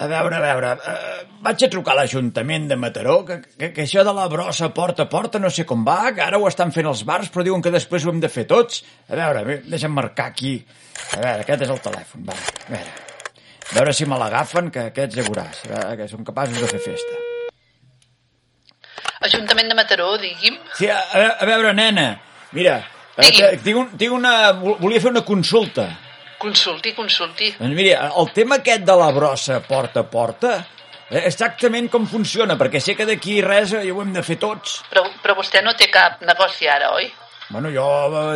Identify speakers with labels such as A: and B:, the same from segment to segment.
A: A veure, a veure, eh, vaig a trucar a l'Ajuntament de Mataró, que, que, que això de la brossa porta a porta no sé com va, que ara ho estan fent els bars, però diuen que després ho hem de fer tots. A veure, bé, deixa'm marcar aquí. A veure, aquest és el telèfon, va, a veure. A veure si me l'agafen, que aquests ja veuràs, eh, que són capaços de fer festa.
B: Ajuntament de Mataró, digui'm.
A: Sí, a, a a veure, nena, mira, eh,
B: Digui.
A: tinc, un, tinc una... vol- Volia fer una consulta.
B: Consulti, consulti.
A: Doncs miri, el tema aquest de la brossa porta a porta, eh, exactament com funciona, perquè sé que d'aquí res eh, ja ho hem de fer tots.
B: Però, però vostè no té cap negoci ara, oi?
A: Bueno, jo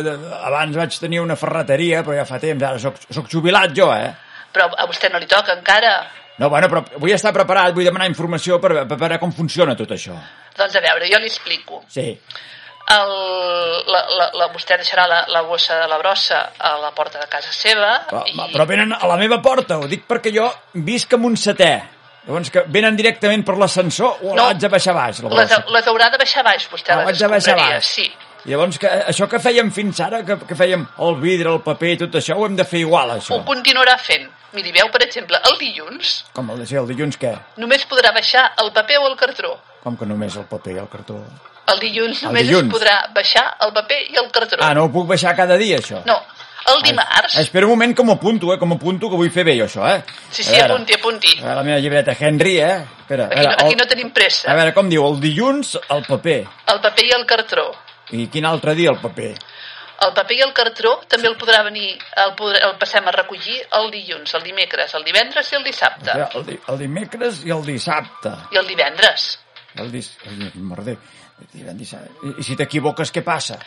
A: eh, abans vaig tenir una ferreteria, però ja fa temps, ara soc, soc jubilat jo, eh?
B: Però a vostè no li toca encara.
A: No, bueno, però vull estar preparat, vull demanar informació per, per veure com funciona tot això.
B: Doncs a veure, jo li explico.
A: Sí.
B: El, la, la, la, vostè deixarà la, la bossa de la brossa a la porta de casa seva
A: Però,
B: i...
A: però venen a la meva porta, ho dic perquè jo visc a Montsetè. Llavors que venen directament per l'ascensor o no.
B: No.
A: l'haig de baixar baix, la
B: Les,
A: brossa?
B: les haurà de baixar baix, vostè.
A: Ah,
B: les
A: ho haig de baixar
B: escombraria,
A: baix.
B: Sí.
A: Llavors, que, eh, això que fèiem fins ara, que, que fèiem el vidre, el paper, tot això, ho hem de fer igual, això.
B: Ho continuarà fent. Miri, veu, per exemple, el dilluns
A: Com el de ser el dilluns, què?
B: només podrà baixar el paper o el cartró.
A: Com que només el paper i el cartó?
B: El dilluns
A: El
B: només
A: dilluns.
B: es podrà baixar el paper i el cartró.
A: Ah, no ho puc baixar cada dia, això?
B: No, el dimarts...
A: Ah, espera un moment que m'ho apunto, eh? Que m'ho apunto, que vull fer bé jo, això, eh?
B: Sí,
A: A
B: sí,
A: veure,
B: apunti, apunti.
A: A veure, la meva llibreta, Henry, eh? Espera,
B: Aquí,
A: a
B: no,
A: veure,
B: aquí no tenim
A: A
B: pressa.
A: veure, com diu? El dilluns, el paper.
B: El paper i el cartró.
A: I quin altre dia, el paper?
B: El paper i el cartró també el podrà venir, el, podrà, el passem a recollir el dilluns, el dimecres, el divendres i el dissabte.
A: Espera, El, di el dimecres i el dissabte.
B: I el divendres.
A: El dis... Ai, quin merder. El dissabte. I, I si t'equivoques, què passa?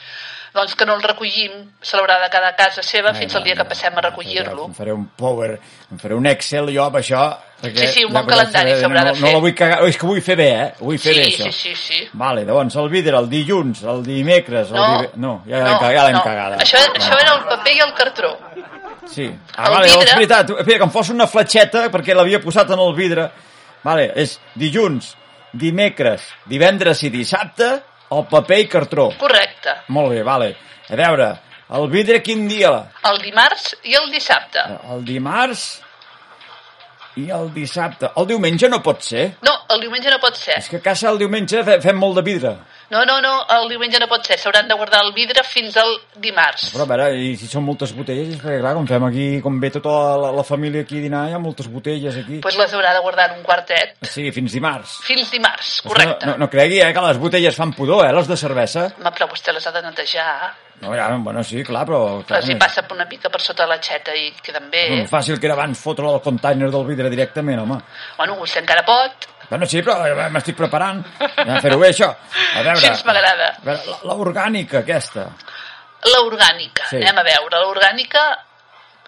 B: Doncs que no el recollim, se l'haurà de quedar a casa seva fins
A: Ai,
B: al dia
A: mira,
B: que passem a
A: mira,
B: recollir-lo.
A: Em faré un power, em faré un Excel jo amb això. Perquè
B: Sí, sí, un
A: ja
B: bon
A: podré
B: calendari
A: saber-
B: s'haurà
A: no,
B: de
A: No
B: fer.
A: la vull cagar, és que vull fer bé, eh? Vull fer
B: Sí,
A: bé
B: sí,
A: això.
B: sí, sí.
A: Vale, llavors el vidre, el dilluns, el dimecres...
B: No,
A: el dive... no ja l'hem cagat, ja l'hem
B: no.
A: cagada.
B: Això, això era el paper i el cartró.
A: Sí. Ah,
B: el
A: vale, vidre...
B: vidre-
A: és veritat. Espera, que em fos una fletxeta perquè l'havia posat en el vidre. Vale, és dilluns, dimecres, divendres i dissabte, el paper i cartró.
B: Correcte.
A: Molt bé, vale. A veure, el vidre quin dia?
B: El dimarts i el dissabte.
A: Eh, El dimarts i el dissabte. El diumenge no pot ser.
B: No, el diumenge no pot ser.
A: És que a casa el diumenge fe- fem molt de vidre.
B: No, no, no, el diumenge no pot ser. S'hauran de guardar el vidre fins al dimarts.
A: Però a veure, i si són moltes botelles, és perquè clar, com fem aquí, com ve tota la, la família aquí a dinar, hi ha moltes botelles aquí.
B: Pues les haurà de guardar en un quartet
A: Sí, fins dimarts.
B: fins dimarts,
A: És que no-
B: correcte.
A: No, no, cregui, eh, que les botelles fan pudor, eh, les de cervesa.
B: Home, però vostè les ha de netejar.
A: No, ja, bueno, sí, clar, però... Clar,
B: Els hi passa una mica per sota la xeta i queden bé.
A: És fàcil que era abans fotre el container del vidre directament, home.
B: Bueno, vostè encara pot.
A: Bueno, sí, però eh, m'estic preparant. Ja fer-ho bé, això. A veure...
B: Gens m'agrada.
A: A veure, la- l'orgànica aquesta.
B: L'orgànica,
A: Sí.
B: anem a veure. L'orgànica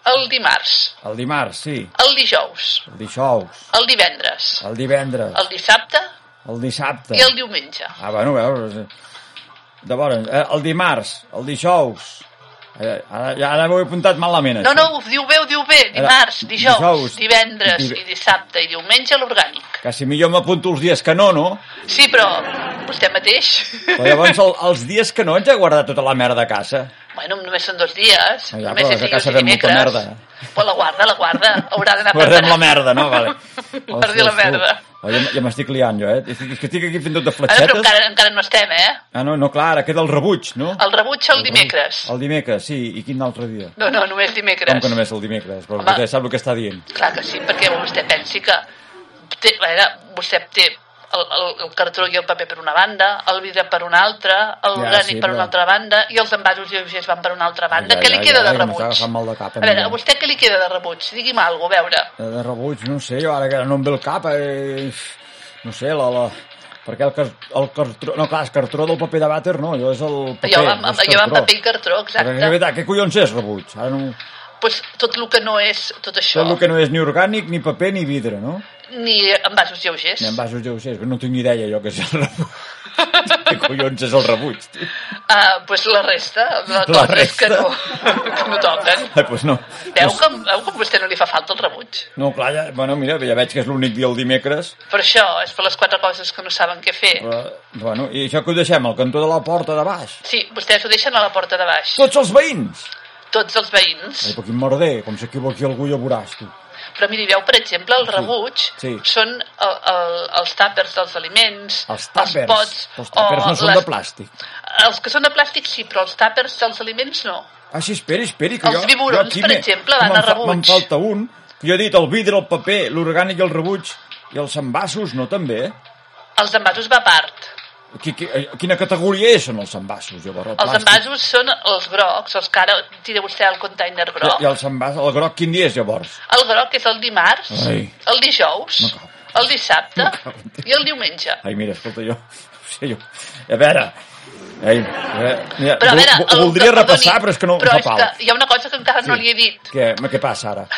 B: el dimarts,
A: El dimarts, sí.
B: el dijous,
A: El dijous.
B: el divendres,
A: El divendres.
B: el dissabte
A: El dissabte.
B: i el diumenge.
A: Ah, bueno, veus... eh, Llavors, eh, el dimarts, el dijous... Eh, ara, ja, ara m'ho he apuntat malament,
B: No,
A: això.
B: no, ho diu bé, ho diu bé. Dimarts, dijous,
A: dijous,
B: divendres
A: dive-
B: i dissabte i diumenge l'orgànic.
A: Que si millor m'apunto els dies que no, no?
B: Sí, però vostè mateix...
A: Però llavors el, els dies que no ets a guardar tota la merda a casa.
B: Bueno, només són dos dies.
A: Ah, ja,
B: només
A: però
B: és
A: a
B: dilluns
A: casa
B: i
A: fem molta
B: dimecres.
A: merda.
B: Però la guarda, la guarda. Haurà d'anar
A: Guardem la
B: preparant.
A: merda, no? Vale.
B: Guardi la merda.
A: Oh, ja m- ja m'estic liant jo, eh? És que- és que estic aquí fent tot de
B: Ara, però
A: fletxetes.
B: encara, Ah. encara no estem, eh?
A: Ah, no, no, clar, ara queda el rebuig, no?
B: El rebuig el dimecres.
A: El dimecres, sí. I quin altre dia?
B: No, no, només dimecres.
A: Com que només el dimecres? Però
B: Home.
A: vostè sap el que està dient.
B: Clar que sí, perquè vostè pensi que té, a veure, vostè té el, el, el cartró i el paper per una banda, el vidre per una altra,
A: Ja,
B: el ja, orgànic
A: sí,
B: per
A: però-
B: una altra banda i els envasos lleugers van per una altra banda.
A: Ja, ja,
B: què li
A: ja,
B: queda de
A: ja, m'està
B: rebuig?
A: agafant mal de cap,
B: a veure,
A: amiga.
B: a vostè què li queda de rebuig? Digui'm alguna cosa, a veure.
A: Eh, De rebuig, no sé, jo ara que no em ve el cap, eh, no sé, la... la... Perquè el, car el cartró... No, clar, el cartró del paper de vàter no, allò és el paper,
B: Allò amb,
A: no
B: amb,
A: és
B: allò amb
A: cartró.
B: paper i cartró,
A: Perquè, és
B: exacte.
A: veritat, què collons és rebuig? Ara no...
B: Pues tot el que no és tot això,
A: Tot el que no és ni orgànic, ni paper, ni vidre, no?
B: ni envasos lleugers.
A: Ni envasos lleugers, que no tinc ni idea jo que és el rebuig. què collons és el rebuig? tio?
B: Ah, pues la resta, la,
A: La
B: que
A: resta.
B: no, que no toquen.
A: Eh, pues no.
B: Veu que, veu que a vostè no li fa falta el rebuig?
A: No, clar, ja, bueno, mira, ja veig que és l'únic dia el dimecres,
B: Per això, és per les quatre coses que no saben què fer.
A: però, bueno, i això que ho deixem al cantó de la porta de baix.
B: Sí, vostès ho deixen a la porta de baix.
A: Tots els veïns!
B: Tots els veïns.
A: Ai, però quin merder, com s'equivoqui algú ja ho veuràs, tu.
B: Però miri, veu, per exemple, el rebuig
A: sí.
B: són el, el, els tàpers dels aliments,
A: Els tàpers.
B: pots...
A: Els tàpers
B: o
A: no són de plàstic.
B: Els que són de plàstic sí, però els tàpers dels aliments no.
A: Ah, sí, esperi, esperi, que
B: Els
A: jo...
B: biberons,
A: jo aquí
B: per
A: m'he-
B: exemple,
A: que
B: van
A: me'n
B: a
A: fa-
B: rebuig.
A: Me'n falta un, que jo he dit el vidre, el paper, l'orgànic i el rebuig, i els envasos, no també?
B: Els envasos va a part.
A: Qui, qui, eh, quina categoria són els envasos, llavors? El
B: Els envasos són els grocs, els que ara tira vostè al container
A: I,
B: groc.
A: I els envasos, el groc, quin dia és, llavors?
B: El groc és el dimarts,
A: Ai.
B: el dijous,
A: No cal.
B: el dissabte
A: No cal, entenc.
B: i el diumenge.
A: Ai, mira, escolta, jo... O sigui, jo a veure... Ai, a veure, mira,
B: Però a veure...
A: vol-
B: el-
A: voldria
B: perdoni,
A: repassar, però és que no
B: Però
A: fa
B: és
A: pau.
B: que hi ha una cosa que encara no
A: Sí.
B: li he dit,
A: Què, ma, què passa ara?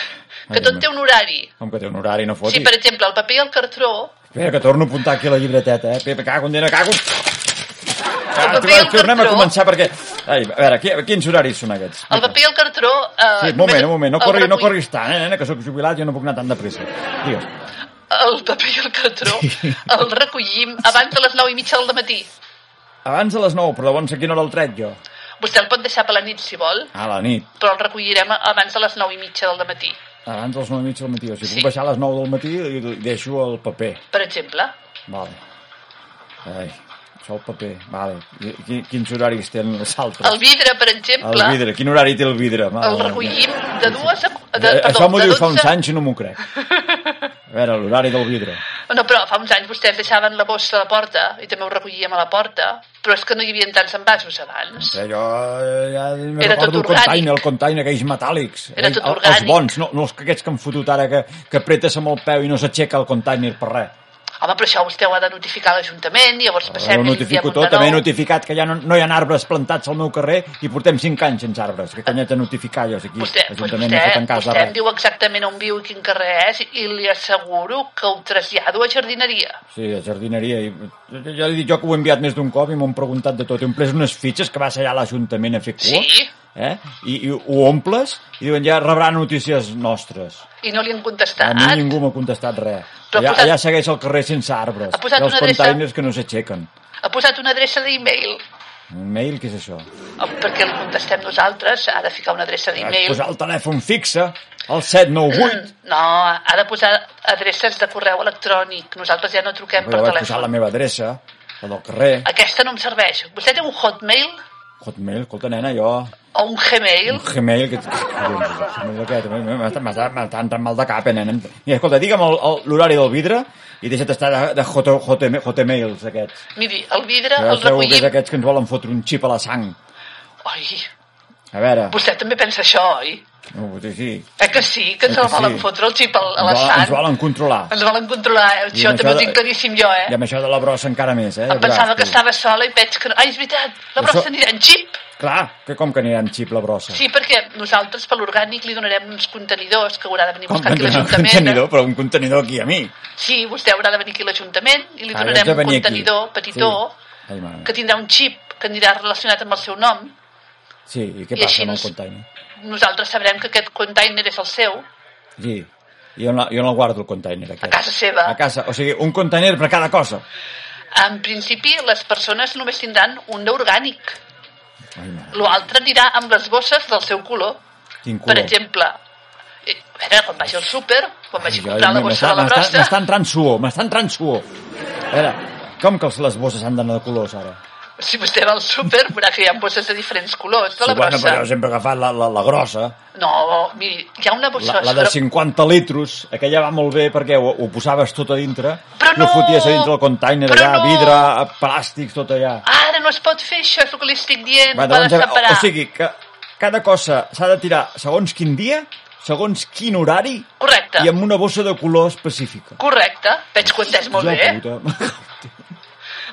B: que tot té un horari.
A: Com que té un horari, no fotis.
B: Sí, per exemple, el paper i el cartró,
A: Espera, que torno a apuntar aquí la llibreteta, eh? Pepe, cago, nena, cago. Ah,
B: paper i el
A: tornem a
B: cartró.
A: començar perquè... Ai, a veure, qui, quins horaris són aquests?
B: el paper i el cartró... Eh,
A: Sí, un moment,
B: només-
A: un moment, no
B: el
A: corri, no
B: recull-
A: corris tant, eh, nena, que sóc jubilat, jo no puc anar tan de pressa. Digues.
B: El paper i el cartró el recollim abans de les 9 i mitja del matí.
A: Abans de les 9, però llavors a quina hora el tret jo?
B: Vostè el pot deixar per la nit, si vol,
A: A la nit.
B: però el recollirem abans de les 9 i mitja del matí,
A: Abans de les 9 i mitja del matí. O sigui,
B: Sí.
A: puc baixar a les 9 del matí i deixo el paper.
B: per exemple.
A: Vale. Ai, això el paper. Vale. I, qui- quins horaris tenen els altres?
B: El vidre, per exemple,
A: El vidre. Quin horari té el vidre? Mare
B: el
A: meva.
B: recollim de dues a... De,
A: Eh,
B: perdó,
A: Això m'ho
B: de
A: dius fa uns
B: 12
A: anys i no m'ho crec. A veure, l'horari del vidre.
B: No, però fa uns anys vostès deixaven la bossa a la porta i també ho recollíem a la porta, però és que no hi havia tants envasos abans.
A: Eh, Jo eh, ja me
B: Era
A: recordo
B: tot
A: el container,
B: orgànic.
A: el container, aquells metàl·lics.
B: Era
A: Aquells-
B: tot
A: el- Els
B: orgànic.
A: bons, no, no els que aquests que han fotut ara que, que apretes amb el peu i no s'aixeca el container per res.
B: Home, però això vostè ho ha de notificar a l'Ajuntament, llavors
A: Ara
B: passem
A: ho
B: i li
A: notifico
B: diem
A: tot,
B: una
A: també he
B: nou.
A: notificat que ja no, no hi ha arbres plantats al meu carrer i portem 5 anys sense arbres. Que canyet a notificar jo, si aquí
B: Vostè, doncs
A: l'Ajuntament
B: vostè,
A: no fa en cas de
B: vostè em
A: res.
B: diu exactament on viu i quin carrer és i li asseguro que ho trasllado a jardineria.
A: Sí, de jardineria. I, jo, jo he dit jo que ho he enviat més d'un cop i m'ho han preguntat de tot. Hem pres unes fitxes que va ser allà a l'Ajuntament a fer cua.
B: Sí.
A: Eh? I, I ho omples i diuen ja rebrà notícies nostres.
B: I no li han
A: A
B: contestat.
A: mi ningú m'ha contestat res.
B: Però ha
A: Allà,
B: posat-
A: allà segueix el carrer sense arbres.
B: Ha posat
A: Hi ha els
B: una adreça-
A: containers que no s'aixequen.
B: Ha posat una adreça d'e-mail
A: Un mail, què és això?
B: eh, perquè el contestem nosaltres, ha de ficar una adreça
A: Has
B: d'e-mail.
A: posar el telèfon fixe, el 798.
B: No, ha de posar adreces de correu electrònic. Nosaltres ja no truquem
A: Però
B: per
A: vaig posar
B: telèfon.
A: la meva adreça, la del carrer.
B: Aquesta no em serveix. Vostè té un Hotmail
A: Hotmail, escolta, nena, jo...
B: o un Gmail?
A: Un Gmail, que... Collons, aquest, eh, m'està- M'està m'està entrant mal de cap, eh, nena. Mira, escolta, digue'm el- el- l'horari del vidre i deixa't estar de, de hot, hot, hotmails aquests.
B: Miri, el vidre
A: Que
B: el
A: Mm. ja sabeu que és
B: recollim...
A: aquests que ens volen fotre un xip a la sang.
B: Ai,
A: A veure,
B: vostè també pensa això, oi?
A: no, sí, sí.
B: Eh que sí, que ens
A: Eh que
B: el volen
A: sí.
B: fotre el xip a a la
A: Ens volen, ens
B: sang?
A: volen controlar.
B: Ens volen controlar, eh?
A: I
B: això
A: amb
B: també
A: això
B: ho
A: de-
B: tinc claríssim jo,
A: I
B: eh?
A: amb això de la brossa encara més, eh?
B: Em pensava que
A: Gràcies.
B: estava sola i veig que no... Ai, és veritat, la
A: Això-
B: brossa anirà en xip.
A: Clar, que com que anirà amb xip la brossa?
B: Sí, perquè nosaltres per l'orgànic li donarem uns contenidors que haurà de venir a
A: com
B: buscar
A: que
B: aquí
A: un
B: l'Ajuntament. eh?
A: contenidor, però un contenidor aquí a mi.
B: Sí, vostè haurà de venir aquí a l'Ajuntament i li
A: Ah,
B: donarem
A: haig de
B: un
A: venir aquí.
B: contenidor petitó
A: Sí. Ai, mare meva.
B: que tindrà un xip que anirà relacionat amb el seu nom.
A: Sí, i què
B: i
A: passa
B: així
A: amb el
B: ens-
A: container?
B: Nosaltres sabrem que aquest container és el seu,
A: Sí, jo no, jo no el guardo el container aquest.
B: a casa seva.
A: A casa, o sigui, un container per cada cosa.
B: En principi, les persones només tindran un d'orgànic.
A: Ai, mare,
B: L'altre anirà amb les bosses del seu color.
A: quin color.
B: Per exemple, eh, a veure, quan vagi al súper, quan vagi a
A: Jo-
B: comprar la
A: m'està-
B: bossa de la
A: m'està-
B: brossa,
A: M'està entrant suor, m'està entrant suor. A veure, com que els- les bosses han d'anar de colors, ara?
B: si vostè va al súper, veurà que hi ha bosses de diferents colors de la
A: bueno,
B: brossa.
A: però jo sempre he agafat la, la, la grossa,
B: No, miri, hi ha una bossa...
A: la, la de
B: sobre-
A: 50 litros, aquella va molt bé perquè ho, ho posaves tot a dintre,
B: Però
A: ho
B: no!
A: foties a dintre del container,
B: Però
A: allà,
B: no!
A: vidre, plàstics, tot allà.
B: Ara no es pot fer això, és el que li estic dient,
A: Va,
B: ho ha de
A: a-
B: Ah, separar.
A: o, o sigui, que cada cosa s'ha de tirar segons quin dia, segons quin horari,
B: Correcte,
A: i amb una bossa de color específica.
B: correcte. Veig que ho entès molt
A: Jo,
B: bé, eh?
A: puta.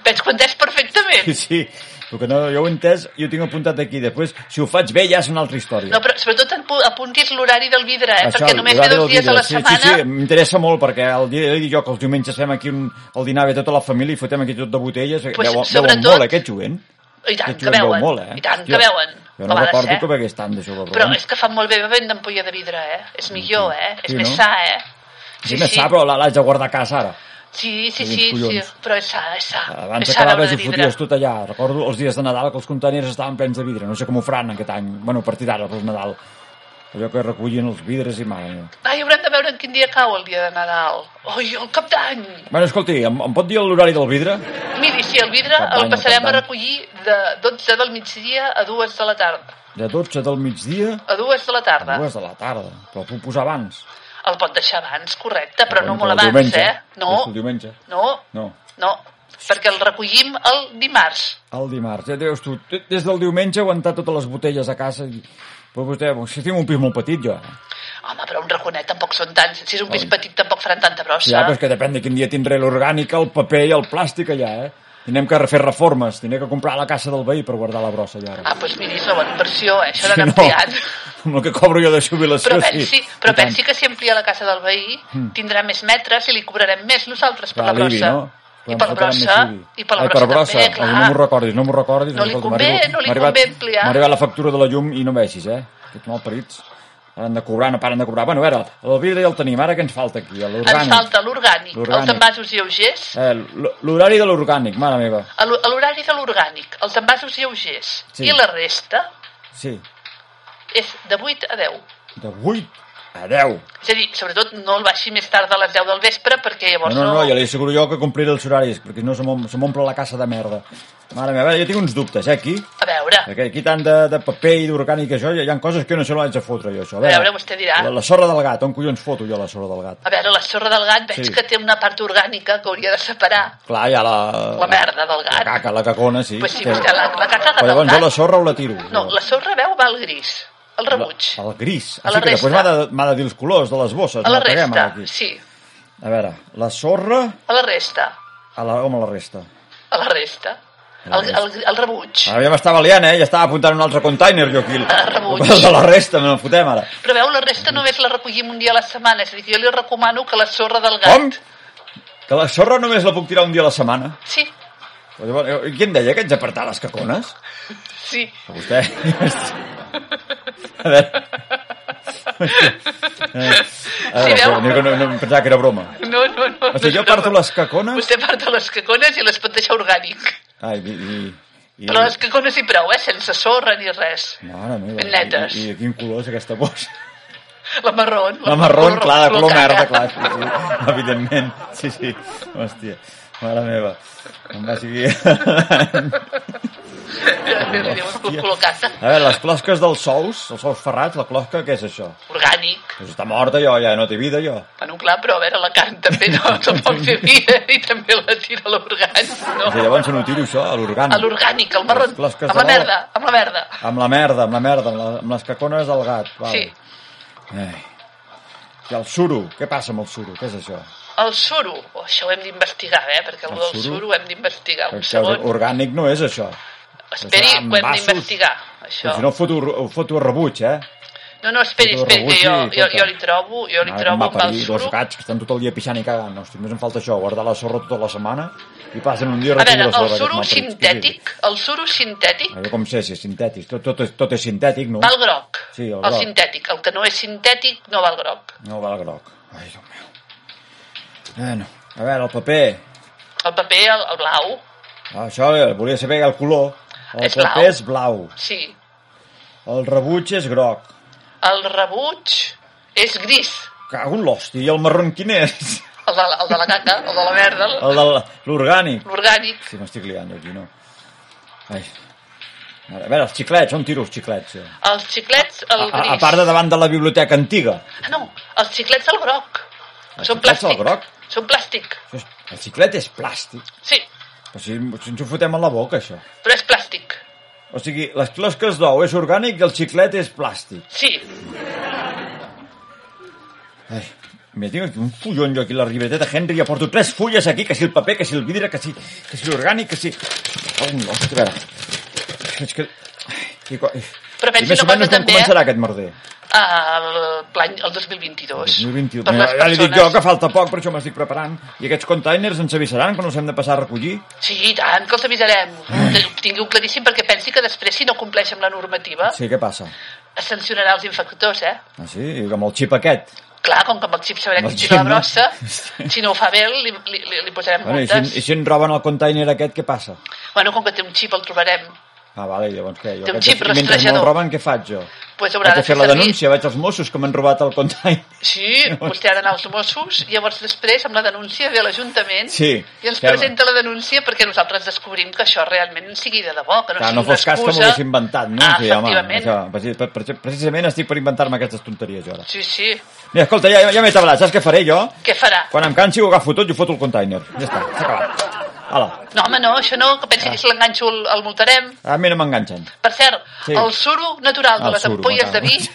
B: Veig que ho entès perfectament.
A: Sí, sí. Però que no, jo ho he entès, jo ho tinc apuntat aquí. Després, si ho faig bé, ja és una altra història.
B: No, però sobretot apu- apuntis l'horari del vidre, eh? perquè només té
A: l'horari
B: dos
A: del
B: dies a la
A: vídeo.
B: setmana.
A: Sí, sí, sí, m'interessa molt, perquè el dia de jo que els diumenges fem aquí un, el dinar ve tota la família i fotem aquí tot de botelles.
B: Pues,
A: veuen, veuen
B: sobretot-
A: molt, eh, aquest jovent.
B: I tant
A: Aquest
B: que
A: jovent veu
B: veuen,
A: molt, eh?
B: i tant que
A: Jo-
B: veuen.
A: Jo no
B: a vegades,
A: recordo
B: eh?
A: que vegués tant de jove.
B: Però és que fan molt bé bevent d'ampolla de vidre, eh? És millor, eh? És
A: Sí,
B: més
A: no?
B: sa, eh?
A: Sí, sí, sí. però l'haig de guardar a casa ara.
B: Sí, sí,
A: Quins
B: sí, sí,
A: collons.
B: però és sa, és sa.
A: Abans
B: és sa beure
A: acabaves
B: de
A: i
B: vidre.
A: foties tot allà. Recordo els dies de Nadal que els containers estaven plens de vidre. No sé com ho faran aquest any. Bueno, a partir d'ara, però és Nadal. Allò que recollien els vidres i mare meva.
B: Ai, haurem de veure en quin dia cau el dia de Nadal. Oi, el cap d'any!
A: Bueno, escolti, em, em pot dir l'horari del vidre?
B: Miri, si el vidre
A: Cap d'any,
B: el passarem
A: cap
B: a
A: d'any.
B: recollir de 12 del migdia a 2 de la tarda.
A: De 12 del migdia
B: A 2 de la tarda.
A: a 2 de la tarda. Però el puc posar abans.
B: El pot deixar abans, correcte, però no
A: Doncs
B: molt
A: el
B: abans,
A: diumenge.
B: eh? No,
A: És el diumenge.
B: no,
A: No.
B: no, perquè el recollim el dimarts.
A: El dimarts. Ja veus tu, t- des del diumenge aguantar totes les botelles a casa. I... Però vostè, si tinc un pis molt petit, jo. eh?
B: Home, però un raconet tampoc són tants. Si és un pis petit tampoc faran tanta brossa.
A: Ja, però és que depèn de quin dia tindré l'orgànica, el paper i el plàstic allà, eh? Tindrem que fer reformes, tindré que comprar la casa del veí per guardar la brossa allà.
B: Ah, doncs miri, és una bona inversió, eh? Això
A: Si
B: d'anar ampliant.
A: amb el que cobro jo de jubilació,
B: Però
A: sí.
B: pensi, però
A: I tant.
B: pensi que si amplia la casa del veí tindrà més metres i li cobrarem més nosaltres per
A: Clar,
B: la
A: l'IBI,
B: brossa.
A: no?
B: I
A: Clar,
B: per la
A: em fotran
B: brossa,
A: més IBI.
B: i per la
A: Ai,
B: brossa, també,
A: Ai,
B: clar.
A: No m'ho recordis, no m'ho recordis.
B: No li
A: escolta,
B: convé,
A: m'arribo-
B: no li
A: m'ha arribat-
B: convé ampliar.
A: M'ha arribat la factura de la llum i no veixis, eh? Que mal parits. Ara han de cobrar, no paren de cobrar. Bueno, a veure, el vidre ja el tenim, ara què ens falta aquí?
B: Ens
A: L'orgànic.
B: falta l'orgànic,
A: L'orgànic.
B: els envasos lleugers,
A: Eh, l- L'horari de l'orgànic, mare meva.
B: a l'ho- a l'horari de l'orgànic, els envasos lleugers
A: Sí.
B: i la resta
A: Sí,
B: és de 8 a 10.
A: de 8 a 10.
B: És a dir, sobretot no el baixi més tard de les 10 del vespre perquè
A: No,
B: llavors
A: no, no, ja li asseguro jo que compliré els horaris, perquè no se m'om- se m'omple la casa de merda. Mare meva, a veure, jo tinc uns dubtes, eh, aquí.
B: A veure,
A: Perquè aquí tant de, de paper i d'orgànic això, hi ha- hi ha coses que jo no se l'haig de fotre, jo, això.
B: A veure, vostè dirà.
A: La, la sorra del gat, on collons foto jo la sorra del gat?
B: a veure, la sorra del gat veig
A: Sí.
B: que té una part orgànica que hauria de separar.
A: Clar, hi ha la...
B: La merda del gat.
A: La caca, la cacona, sí.
B: Pues sí,
A: Que-
B: vostè, la- la caca
A: Però
B: del
A: llavors
B: gat.
A: jo la sorra o la tiro?
B: No, la sorra, veu, va al gris, al rebuig.
A: El gris.
B: A
A: Ah,
B: la
A: sí, que després m'ha
B: resta.
A: de, m'ha de dir els colors de les bosses.
B: A la
A: traguem
B: resta,
A: ara aquí.
B: sí,
A: A veure, la sorra...
B: a la resta,
A: A la, com a la resta?
B: a la resta,
A: la
B: al, al, al rebuig.
A: Ara ja m'estava liant, eh? Ja estava apuntant un altre container, jo aquí.
B: Ah, rebuig.
A: El de la resta, me la fotem ara.
B: Però veu, la resta només la recollim un dia a la setmana, és a dir, que jo li recomano que la sorra del gat...
A: Com? Que la sorra només la puc tirar un dia a la setmana.
B: Sí,
A: Però Llavors, eh, qui em deia que ets apartar les cacones?
B: sí.
A: A vostè? A veure... Eh, a
B: Sí,
A: veure,
B: veu?
A: no, no, no, em pensava que era broma.
B: No, no, no.
A: O sigui,
B: no
A: jo
B: és
A: parto
B: broma.
A: les cacones...
B: Vostè parta les cacones i les pot deixar orgànic.
A: Ai, i... i, i...
B: Però les cacones i prou, eh? Sense sorra ni res.
A: Mare meva,
B: ben netes.
A: I, i, de quin color és aquesta bossa?
B: La marrón.
A: La marrón, clar, de color
B: caca.
A: merda, clar, sí, sí, evidentment. Sí, sí, hòstia, mare meva. Em va seguir...
B: Li diuen
A: Hòstia.
B: color caca.
A: A veure, les closques dels sous, els sous ferrats, la closca, què és això?
B: Orgànic.
A: Pues està morta jo, ja no té vida jo.
B: Bueno, clar, però a veure, la carn també no tampoc té vida i també la tira a l'orgànic,
A: No.
B: no?
A: Llavors no ho tiro això, a l'orgànic.
B: A l'orgànic, al marrón,
A: Les closques
B: amb la
A: de dalt.
B: merda, amb la merda.
A: Amb la merda, amb la merda, amb, la, amb les cacones del gat. Val.
B: Sí.
A: Ai. I el suro, què passa amb el suro? Què és això?
B: El suro, oh, això ho hem d'investigar, eh? Perquè el,
A: El
B: del
A: suro?
B: suro ho hem d'investigar. Un
A: Perquè
B: segon,
A: Orgànic no és això.
B: esperi,
A: Això amb
B: ho hem
A: vasos.
B: d'investigar,
A: Però
B: això.
A: si no foto, ho foto a rebuig, eh?
B: No, no, esperi,
A: Foto
B: esperi, que
A: rebuig
B: jo,
A: i
B: jo,
A: tota.
B: jo li trobo, jo
A: Ara
B: li
A: em
B: trobo
A: va
B: amb el
A: parir dos
B: suro.
A: gats que estan tot el dia pixant i cagant. Hosti, només em falta això, guardar la sorra tota la setmana i passen un dia
B: A veure,
A: recollir la sorra.
B: el
A: aquests
B: suro
A: malparits.
B: sintètic, el suro
A: Sí,
B: sintètic
A: sí. Jo com sé si és sintètic. Tot, tot, és, tot és sintètic, no?
B: val groc.
A: Sí, el
B: el,
A: groc.
B: sintètic. El que no és sintètic no val groc.
A: No val groc. Ai, Déu meu. Bueno, a veure, el paper.
B: El paper, el, el blau,
A: Això, eh, volia saber el color. El
B: És
A: paper
B: blau.
A: és blau.
B: sí.
A: El rebuig és groc.
B: El rebuig és gris.
A: Cago en l'hòstia, i el marron quin és?
B: El de, la- el de la caca, el de la merda, el-
A: El de la- l'orgànic.
B: l'orgànic.
A: Sí, m'estic liant jo aquí, no? Ai. A veure, els xiclets, on tiro els xiclets? jo?
B: Els xiclets, el
A: A,
B: gris.
A: a part de davant de la biblioteca antiga.
B: Ah, no, els xiclets, el groc.
A: Els
B: Són
A: xiclets, el
B: plàstic.
A: groc?
B: Són plàstic,
A: Això és- El xiclet és plàstic.
B: sí,
A: Però si, si ens ho fotem a la boca, això.
B: però és plàstic.
A: O sigui, les closques d'ou és orgànic i el xiclet és plàstic.
B: Sí,
A: Ai, mira, tinc aquí un fullon jo aquí a la ribereta de Henry, ja porto tres fulles aquí, que si el paper, que si el vidre, que si, que si l'orgànic, que si... Oh, no, a veure. És que... Ai, i, co-
B: Però pensi
A: I més
B: una
A: o menys
B: cosa
A: quan
B: també, eh?
A: començarà aquest merder?
B: el, l'any el 2022.
A: 2021.
B: Per les
A: Ja li dic
B: persones.
A: jo que falta poc, per això m'estic preparant. I aquests containers ens avisaran quan els hem de passar a recollir?
B: Sí, i tant, que els avisarem. Ho Tingueu claríssim perquè pensi que després, si no compleix amb la normativa,
A: Sí, què passa?
B: es sancionarà els infectors, eh?
A: Ah, sí? I amb el xip aquest?
B: Clar, com que amb el xip sabrem
A: Amb
B: que
A: el
B: tira la
A: xip, no?
B: brossa,
A: Sí.
B: si no ho fa bé, li, li, li, li posarem
A: Bueno, i, si,
B: multes.
A: I si en roben el container aquest, què passa?
B: Bueno, com que té un xip, el trobarem.
A: Ah, vale, i llavors què? Jo
B: Té un
A: haig de
B: xip
A: fer- i mentre me'l
B: rastrejador.
A: roben, què faig jo?
B: Pues haurà
A: Haig de
B: de
A: fer
B: fer
A: la
B: servir.
A: denúncia, vaig als Mossos que m'han robat el container.
B: Sí, vostè ha d'anar als Mossos i llavors després amb la denúncia ve a l'Ajuntament
A: Sí,
B: i ens
A: clar.
B: presenta la denúncia perquè nosaltres descobrim que això realment sigui de debò, que no
A: Clar,
B: sigui
A: no
B: una
A: fos cas que m'ho
B: excusa.
A: hagués inventat, no?
B: Ah,
A: Sí, home,
B: efectivament.
A: això, preci- pre- pre- precisament estic per inventar-me aquestes tonteries jo ara.
B: Sí, sí.
A: Mira, escolta, ja, ja m'he tablat, saps què faré jo?
B: Què farà?
A: Quan em cansi ho agafo tot i ho foto al container. Ja està, s'ha acabat. Hala,
B: No, home, no, això no, que
A: Ah.
B: pensi que si l'enganxo el, el multarem.
A: a mi no m'enganxen.
B: Per cert,
A: Sí.
B: sí. el suro natural de
A: El
B: les
A: suro,
B: ampolles de
A: m'acabo.
B: vi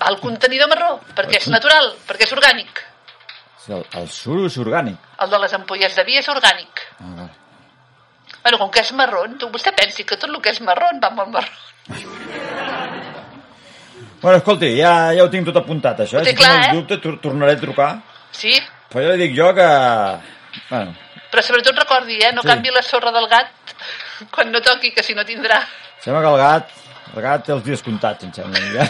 B: va al contenidor marró, perquè és natural, perquè és orgànic.
A: El, el suro és orgànic.
B: El de les ampolles de vi és orgànic.
A: Ah, vale.
B: Bueno, com que és marró, tu, vostè pensi que tot el que és marró va molt marró.
A: Bueno, escolti, ja, ja ho tinc tot apuntat, això.
B: Ho té
A: si
B: clar,
A: tinc
B: eh?
A: dubte, tor- tornaré a trucar.
B: Sí?
A: Però ja li dic jo que... Bueno,
B: Però sobretot recordi, eh, no
A: Sí.
B: sí. canvi la sorra del gat quan no toqui, que si no tindrà...
A: sembla que el gat, el gat té els dies comptats, em sembla. Ja.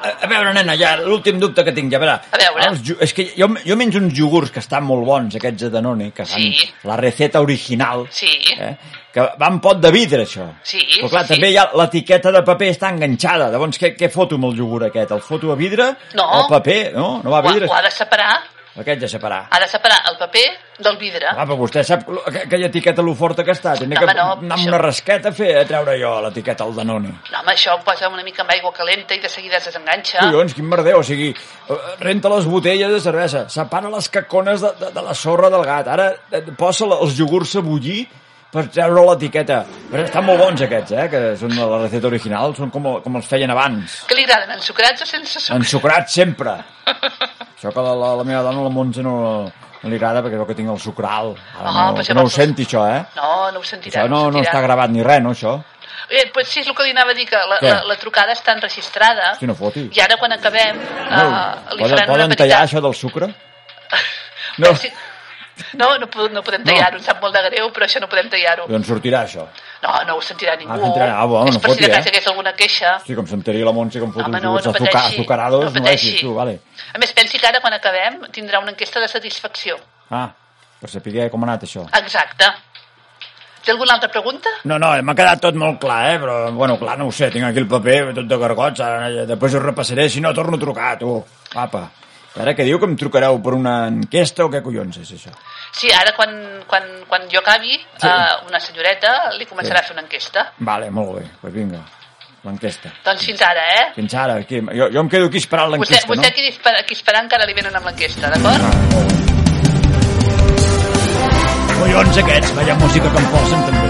A: A, a veure, nena, ja, l'últim dubte que tinc, ja verà.
B: A veure.
A: Els, iogurts- és que jo, jo menjo uns iogurts que estan molt bons, aquests de Danone, que fan
B: Sí.
A: la receta original,
B: Sí,
A: eh? que va en pot de vidre, això.
B: Sí,
A: Però clar,
B: sí,
A: també hi ha l'etiqueta de paper està enganxada. Llavors, què, què foto amb el iogurt aquest? El foto a vidre?
B: No.
A: El paper? No, no va
B: ho,
A: a
B: ha-
A: vidre.
B: ho ha de separar,
A: Aquest ja separar.
B: ha de separar el paper del vidre.
A: Ah, però vostè sap lo- aqu- aquella etiqueta lo forta que està. Tindré que
B: No, home, no,
A: anar amb
B: Ah, això-
A: una rasqueta a fer a treure jo l'etiqueta al Danone.
B: No, home, això ho posa una mica amb aigua calenta i de seguida es desenganxa.
A: Collons, quin merder, o sigui, eh, renta les botelles de cervesa, separa les cacones de, de, de la sorra del gat, ara eh, posa la- els iogurts a bullir per treure l'etiqueta. Però estan molt bons aquests, eh, que són de la receta original, són com, el- com els feien abans.
B: Que li agraden, ensucrats o sense sucre?
A: Ensucrats sempre. Això que la, la, la meva dona, la Montse, no, no li agrada perquè veu que tinc el sucral. Ara
B: Ah,
A: no, que
B: però això
A: no ho
B: per tot.
A: senti, això, eh?
B: No, no ho sentirà.
A: Això no, no
B: sentirà.
A: està gravat ni res, no, això?
B: Eh, pues sí, és el que li anava a dir, que la,
A: Què?
B: la, la trucada està enregistrada.
A: Si no fotis.
B: I ara, quan acabem, no, uh,
A: poden,
B: li faran una
A: poden
B: petita...
A: tallar això del sucre? No,
B: Sí. No, no, po- no podem tallar-ho, em sap molt de greu, però això no podem tallar-ho.
A: doncs sortirà això.
B: No, no ho sentirà ningú.
A: sentirà- ah, bueno,
B: és
A: no
B: per si
A: foti,
B: de
A: eh?
B: cas hi hagués alguna queixa.
A: Sí, com s'enteri la Montse que em fot
B: Home,
A: uns
B: no,
A: no,
B: no
A: azucar,
B: pateixi.
A: azucarados,
B: no
A: no, vegis
B: pateixi.
A: tu, vale.
B: A més, pensi que ara, quan acabem, tindrà una enquesta de satisfacció.
A: Ah, per saber com ha anat això.
B: Exacte. Té alguna altra pregunta?
A: No, no, m'ha quedat tot molt clar, eh? Però, bueno, clar, no ho sé, tinc aquí el paper tot de gargots, ara ja- després ho repassaré, si no torno a trucar, tu. Apa. I ara què diu que em trucareu per una enquesta o què collons és això?
B: Sí, ara quan, quan, quan jo acabi,
A: Sí.
B: eh, una senyoreta li
A: Sí.
B: començarà a fer una enquesta.
A: Vale, molt bé, doncs pues vinga, l'enquesta.
B: Doncs fins ara, eh?
A: Fins ara, aquí, jo, jo em quedo aquí esperant
B: Vostè,
A: l'enquesta, no? Ah.
B: vostè aquí, dispara, aquí esperant que ara li venen amb l'enquesta, d'acord?
A: Collons aquests, vaya música que em posen també.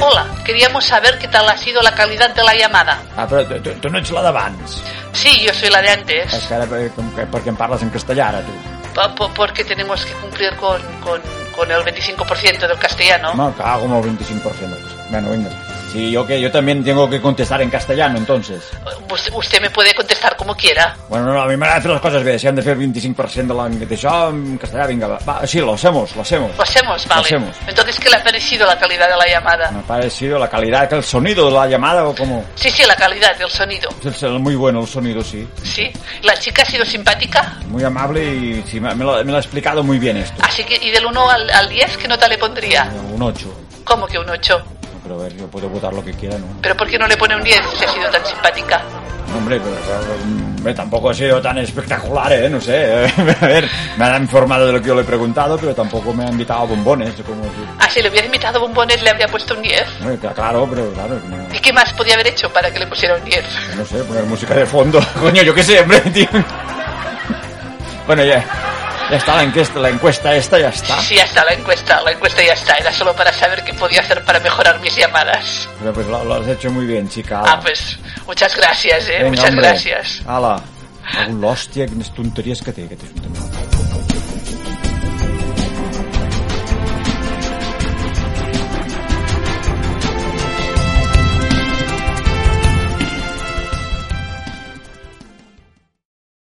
B: Hola, queríamos saber qué tal ha sido la calidad de la llamada.
A: Ah, però tu, tu, tu no ets la d'abans.
B: Sí, yo soy la de
A: És
B: antes,
A: que ara per- com que, perquè em parles en castellà ara, tu.
B: po- po- porque tenemos que cumplir con, con, con el 25% del castellano.
A: Me cago en el 25%. Bueno, venga. Sí, yo que yo también tengo que contestar en castellano, entonces.
B: Usted, usted me puede contestar como quiera.
A: Bueno, no, a mi m'agrada fer les coses bé. Si han de fer el 25% de la... d'això en castellà, vinga, va. va. Sí, lo hacemos, lo hacemos.
B: Lo hacemos, vale.
A: Lo hacemos.
B: Entonces, ¿qué le ha parecido la calidad de la llamada?
A: Me ha parecido la calidad, el sonido de la llamada o como...
B: Sí, sí, la calidad, el sonido.
A: Es el- muy bueno el sonido, sí.
B: Sí. ¿La chica ha sido simpática?
A: Muy amable y sí, me, me lo, me lo ha explicado muy bien esto.
B: Así que, ¿y del 1 al, al 10 qué nota le pondría?
A: Un 8.
B: ¿Cómo que un 8?
A: Pero a ver, yo puedo votar lo que quiera, ¿no?
B: ¿Pero por qué no le pone un 10 si ha sido tan simpática?
A: No, Hombre, pero, pero, hombre, tampoco ha sido tan espectacular, ¿eh? No sé. A ver, me han informado de lo que yo le he preguntado, pero tampoco me han invitado a bombones. Como si-
B: Ah, si le hubiera invitado bombones le habría puesto un 10.
A: Hombre, que claro, pero claro, no,
B: ¿Y qué más podía haber hecho para que le pusiera un 10?
A: no sé, poner música de fondo. Coño, yo qué sé, hombre, tío. Bueno, ya, ya está la encuesta, la encuesta esta ya está.
B: Sí, ya está la encuesta, la encuesta ya está. Era solo para saber qué podía hacer para mejorar mis llamadas.
A: Pero pues lo, lo has hecho muy bien, chica.
B: Ah, pues muchas gracias, eh.
A: Venga,
B: muchas
A: hombre.
B: gracias.
A: Hala. L'hòstia, quines tonteries que té aquest ajuntament.